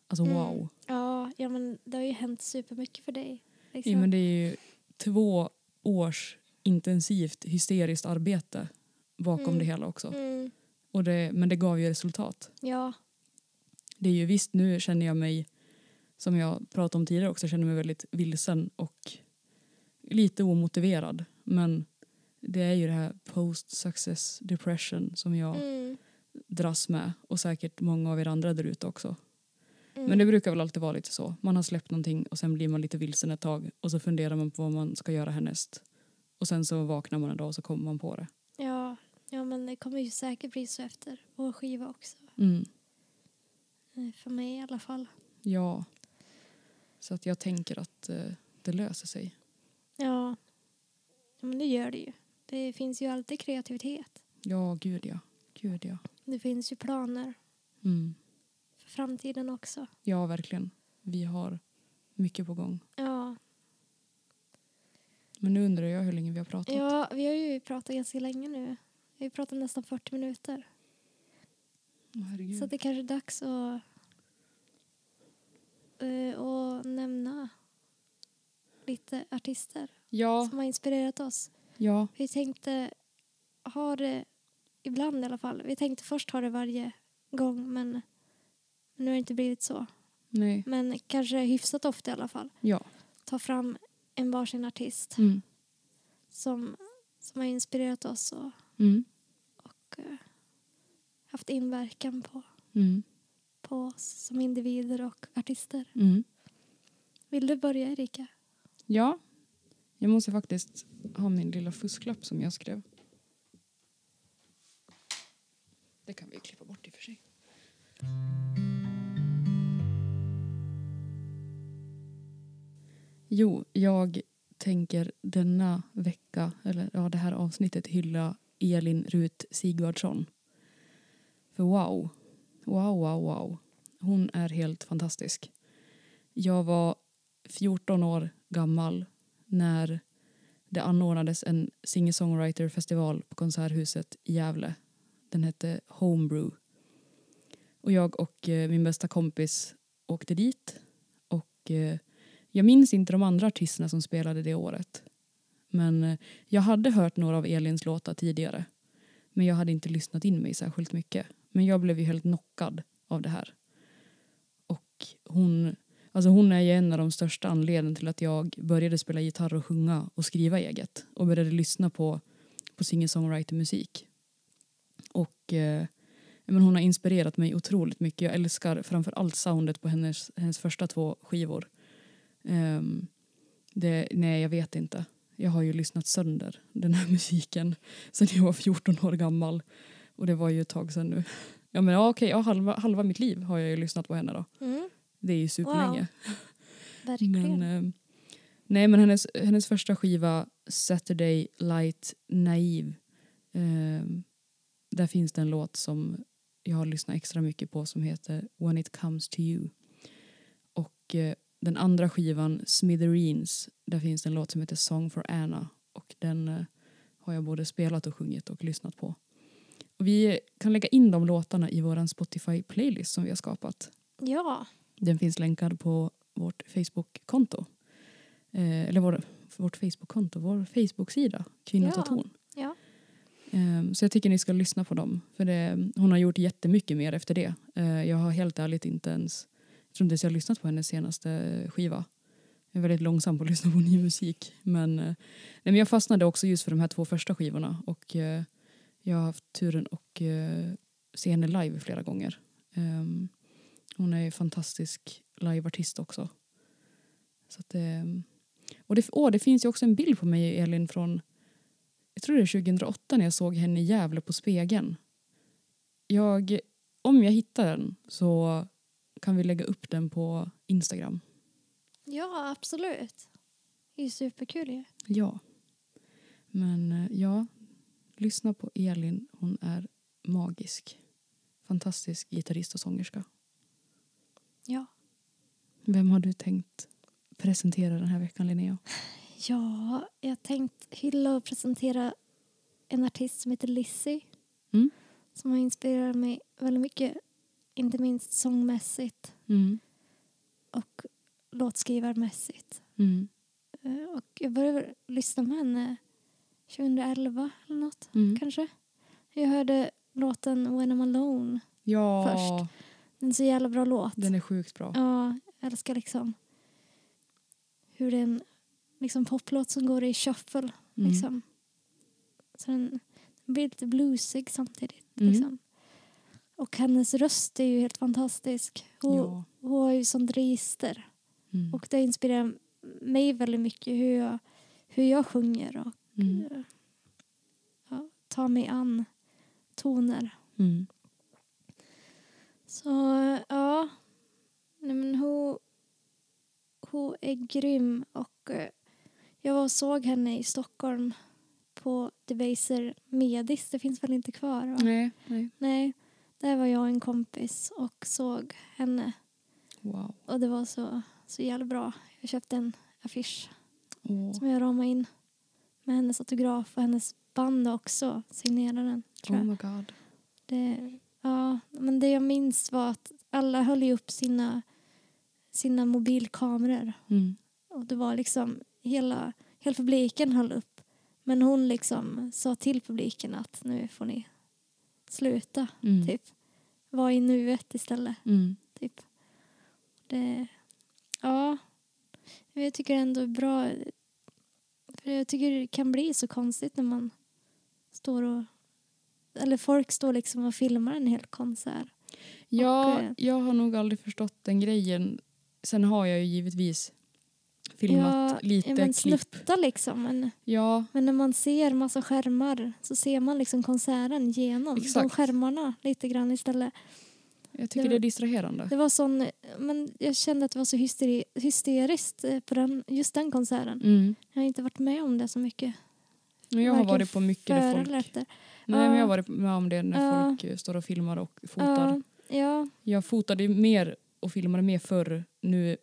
Alltså Mm. wow. Ja, ja, men det har ju hänt supermycket för dig. Liksom. Ja, men det är ju två års intensivt hysteriskt arbete bakom Mm. det hela också. mm. Och det, men det gav ju resultat. Ja. Det är ju visst, nu känner jag mig, som jag pratade om tidigare också, känner mig väldigt vilsen och lite omotiverad. Men det är ju det här post success depression som jag Mm. dras med och säkert många av er andra där ute också. Mm. Men det brukar väl alltid vara lite så. Man har släppt någonting och sen blir man lite vilsen ett tag och så funderar man på vad man ska göra härnäst. Och sen så vaknar man en dag och så kommer man på det. ja. ja, men det kommer ju säkert bli så efter vår skiva också. Mm. Eh, För mig i alla fall. Ja. Så att jag tänker att eh, det löser sig. Ja. ja, men det gör det ju. Det finns ju alltid kreativitet. Ja, gud ja. Gud ja. Det finns ju planer Mm. för framtiden också. Ja, verkligen. Vi har mycket på gång. Ja, Men nu undrar jag hur länge vi har pratat. ja vi har ju pratat ganska länge nu. Vi har pratat nästan 40 minuter. Åh, herregud. Så det kanske är dags att, eh, att nämna lite artister Ja, som har inspirerat oss. ja, Vi tänkte ha det ibland i alla fall. Vi tänkte först ha det varje gång men nu har det inte blivit så. nej, Men kanske hyfsat ofta i alla fall. ja. Ta fram en varsin artist Mm. som, som har inspirerat oss och, Mm. och eh, haft inverkan på, Mm. på oss som individer och artister. Mm. Vill du börja Erika? Ja. Jag måste faktiskt ha min lilla fusklapp som jag skrev. Det kan vi klippa bort i och för sig. Jo, jag tänker denna vecka, eller ja, det här avsnittet hylla Elin Rut Sigvardsson. För wow, wow, wow, wow. Hon är helt fantastisk. Jag var 14 år gammal när det anordnades en singer-songwriter-festival på Konserthuset i Gävle. Den hette Homebrew. Och jag och eh, min bästa kompis åkte dit. Och eh, jag minns inte de andra artisterna som spelade det året. Men eh, jag hade hört några av Elins låtar tidigare. Men jag hade inte lyssnat in mig särskilt mycket. Men jag blev ju helt knockad av det här. Och hon Alltså hon är ju en av de största anledningarna till att jag började spela gitarr och sjunga och skriva eget och började lyssna på, på singer-songwriter-musik. Och eh, ja, men hon har inspirerat mig otroligt mycket. Jag älskar framför allt soundet på hennes, hennes första två skivor. Ehm, det, nej, jag vet inte. Jag har ju lyssnat sönder den här musiken sen jag var 14 år gammal. Och det var ju ett tag sedan nu. Ja, men ja, okej, ja, halva, halva mitt liv har jag ju lyssnat på henne då. Det är ju superlänge. Wow. Verkligen. Mm. Men, eh, nej, men hennes, hennes första skiva, Saturday Light Naive, eh, där finns det en låt som jag har lyssnat extra mycket på som heter When It Comes To You. Och eh, den andra skivan, Smithereens, där finns det en låt som heter Song for Anna och den eh, har jag både spelat och sjungit och lyssnat på. Och vi kan lägga in de låtarna i vår Spotify-playlist som vi har skapat. Ja, Den finns länkad på vårt Facebook-konto. Eh, eller vår, vårt Facebook-konto, vår Facebook-sida, Kvinnor tar Ja. ton. ja. Eh, så jag tycker ni ska lyssna på dem. För det, hon har gjort jättemycket mer efter det. Eh, jag har helt ärligt inte ens, jag tror inte ens jag har lyssnat på hennes senaste skiva. Jag är väldigt långsam på att lyssna på ny musik. Men, eh, nej, men jag fastnade också just för de här två första skivorna. Och eh, jag har haft turen att eh, se henne live flera gånger. Ehm, hon är en fantastisk liveartist också. Så att, eh, Och det, åh, det finns ju också en bild på mig och Elin från jag tror det är 2008 när jag såg henne i Gävle på Spegeln. Jag, om jag hittar den så kan vi lägga upp den på Instagram. Ja, absolut. Det är ju superkul ju. Ja. Men eh, ja, lyssna på Elin. Hon är magisk. Fantastisk gitarrist och sångerska. Ja. Vem har du tänkt presentera den här veckan, Linnea? Ja, jag tänkt hylla och presentera en artist som heter Lizzy. Mm. Som har inspirerat mig väldigt mycket. Inte minst sångmässigt Mm. och låtskrivarmässigt. Mm. Eh, Och jag började väl lyssna på henne 2011 eller något Mm. kanske. Jag hörde låten When I'm Alone. Ja, Först. Den är så jävla bra låt. den är sjukt bra. Ja, jag älskar liksom hur det är en liksom poplåt som går i shuffle. Mm. Liksom. Så den den blir lite bluesig samtidigt. Mm. Liksom. Och hennes röst är ju helt fantastisk. Hon, Ja. hon har ju sånt register. Mm. Och det inspirerar mig väldigt mycket hur jag, hur jag sjunger och Mm. eh, ja, tar mig an toner. Mm. Så ja, Nej, men hon, hon är grym och eh, jag var och såg henne i Stockholm på Debaser Medis, det finns väl inte kvar? Va? Nej, nej. Nej, där var jag och en kompis och såg henne Wow. och det var så, så jävla bra. Jag köpte en affisch Åh. som jag ramade in med hennes autograf och hennes band också signerade den. Tror Oh jag. my god. Det, ja, men det jag minns var att alla höll ju upp sina, sina mobilkameror. Mm. Och det var liksom hela, hela publiken höll upp. Men hon liksom sa till publiken att nu får ni sluta, Mm. typ. Var i nuet istället, Mm. typ. Det, ja, men jag tycker ändå är bra. För jag tycker det kan bli så konstigt när man står och... Eller folk står liksom och filmar en hel konsert. Ja, eh, jag har nog aldrig förstått den grejen. Sen har jag ju givetvis filmat Ja, lite ja, men klipp. snuttar liksom. Men, Ja, men när man ser massa skärmar så ser man liksom konserten genom de Exakt. skärmarna lite grann istället. jag tycker Det- det är distraherande. Det var sån, men jag kände att det var så hysteri, hysteriskt eh, på den, just den konserten. Mm. Jag har inte varit med om det så mycket. Men jag har Varken varit på mycket där före folk... eller efter. Nej, men jag Ja. har varit med om det när Ja. folk eh, står och filmar och fotar. Ja, ja, Jag fotade ju mer och filmade mer förr. Nu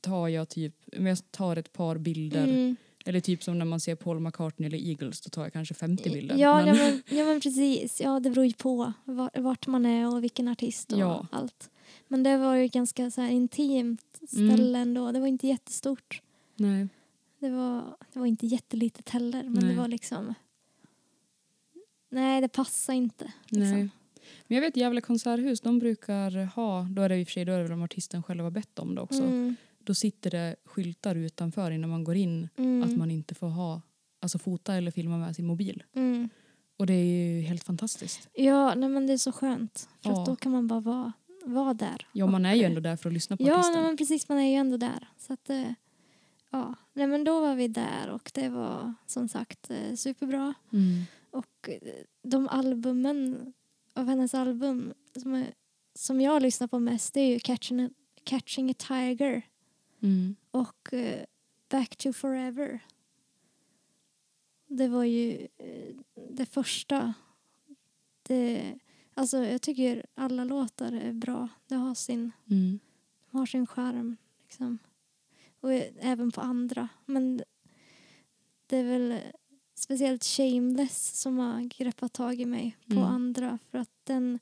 tar jag typ, men jag tar ett par bilder. mm. Eller typ som när man ser Paul McCartney eller Eagles, då tar jag kanske 50 bilder. Ja, men, ja, men, ja, men precis. Ja, det beror ju på var- vart man är och vilken artist och Ja. allt. Men det var ju ganska så här intimt Mm. ställe ändå. Det var inte jättestort. nej. Det var, det var inte jättelitet heller, men Nej. det var liksom... Nej, det passar inte. Liksom. Nej. Men jag vet Gävle konserthus, de brukar ha, då är det i och för sig då är det väl om artisten själv har bett om det också. Mm, Då sitter det skyltar utanför innan man går in mm, att man inte får ha, alltså fota eller filma med sin mobil. mm. Och det är ju helt fantastiskt. Ja, nej, men det är så skönt. För Ja. att då kan man bara vara, vara där. Ja, man är ju ändå där för att lyssna på Ja, nej, artisten. men precis. Man är ju ändå där. Så att, eh, ja. Nej, men då var vi där och det var som sagt eh, superbra. Mm. Och eh, de albumen av hennes album som, är, som jag lyssnar på mest det är ju Catching a, Catching a Tiger Mm. och eh, Back to Forever. Det var ju eh, det första. Det, alltså jag tycker alla låtar är bra. Det har sin Mm. de har sin charm. Liksom. Och eh, även på andra. Men det är väl eh, speciellt Shameless som har greppat tag i mig på Mm. andra. För att den...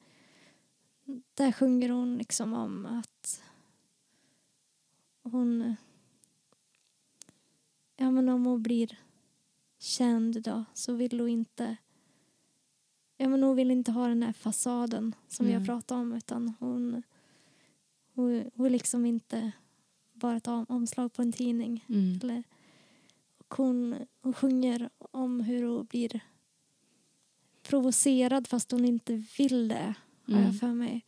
Där sjunger hon liksom om att hon... Ja, men om hon blir känd då så vill hon inte... Ja, men hon vill inte ha den här fasaden som Nej. jag pratade om utan hon... Hon, hon liksom inte bara ett om- omslag på en tidning. Mm. Eller, och hon, hon sjunger om hur hon blir provocerad fast hon inte vill det, har Mm. jag för mig.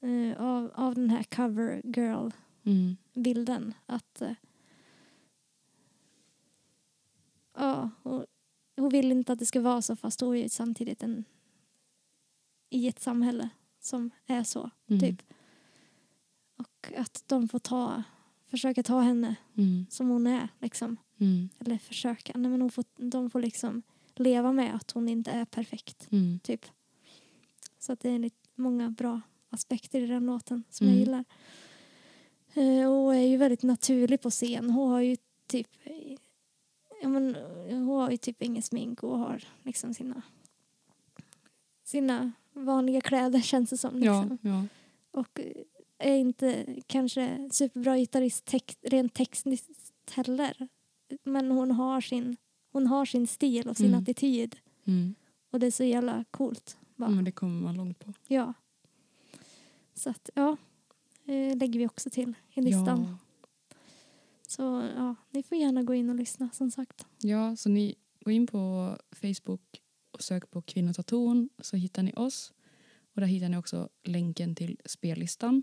Eh, av, av den här cover girl-bilden. Mm. Att eh, Ja, hon, hon vill inte att det ska vara så fast hon är ju samtidigt en, i ett samhälle som är så. Mm. Typ. Och att de får ta, försöka ta henne Mm. som hon är. Liksom. Mm. Eller försöka. Nej, men hon får, de får liksom leva med att hon inte är perfekt. Mm. Typ. Så att det är lite, många bra aspekter i den låten som Mm. jag gillar. Eh, och hon är ju väldigt naturlig på scen. Hon har ju typ eh, ja, men, eh, hon har ju typ inget smink och har liksom sina sina vanliga kläder känns det som. Liksom. Ja, ja. Och eh, är inte kanske superbra gitarrist text, rent tekniskt heller. Men hon har sin, hon har sin stil och sin Mm. attityd. Mm. Och det är så jävla coolt. ja, Bara. men det kommer man långt på. Ja. Så att, ja. Eh, lägger vi också till i listan. Ja. Så ja, ni får gärna gå in och lyssna som sagt. Ja, så ni går in på Facebook och söker på Kvinnor tar ton så hittar ni oss. Och där hittar ni också länken till spellistan.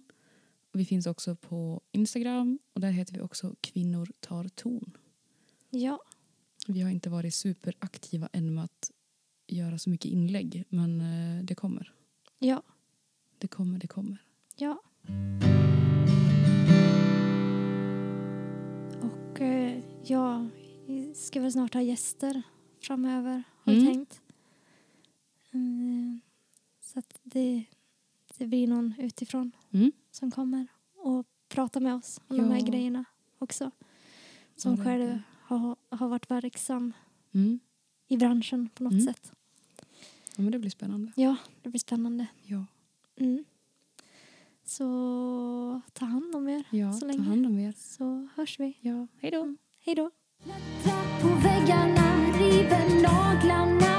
Och vi finns också på Instagram och där heter vi också Kvinnor tar ton. Ja, Vi har inte varit superaktiva än med att göra så mycket inlägg men eh, det kommer. ja, Det kommer, det kommer. ja. Och eh, ja, vi ska väl snart ha gäster framöver har vi Mm. tänkt. Mm, så att det, det blir någon utifrån. Mm. som kommer och pratar med oss om Ja. de här grejerna också. Som Ja, själv verkligen. har, har varit verksam Mm. i branschen på något Mm. sätt. Ja, men det blir spännande. Ja, det blir spännande. Ja, Mm. Så ta hand om er ja så ta länge. hand om er. Så hörs vi. Mm. Ja, hej då. Hej då. Klättrar på väggarna, river naglarna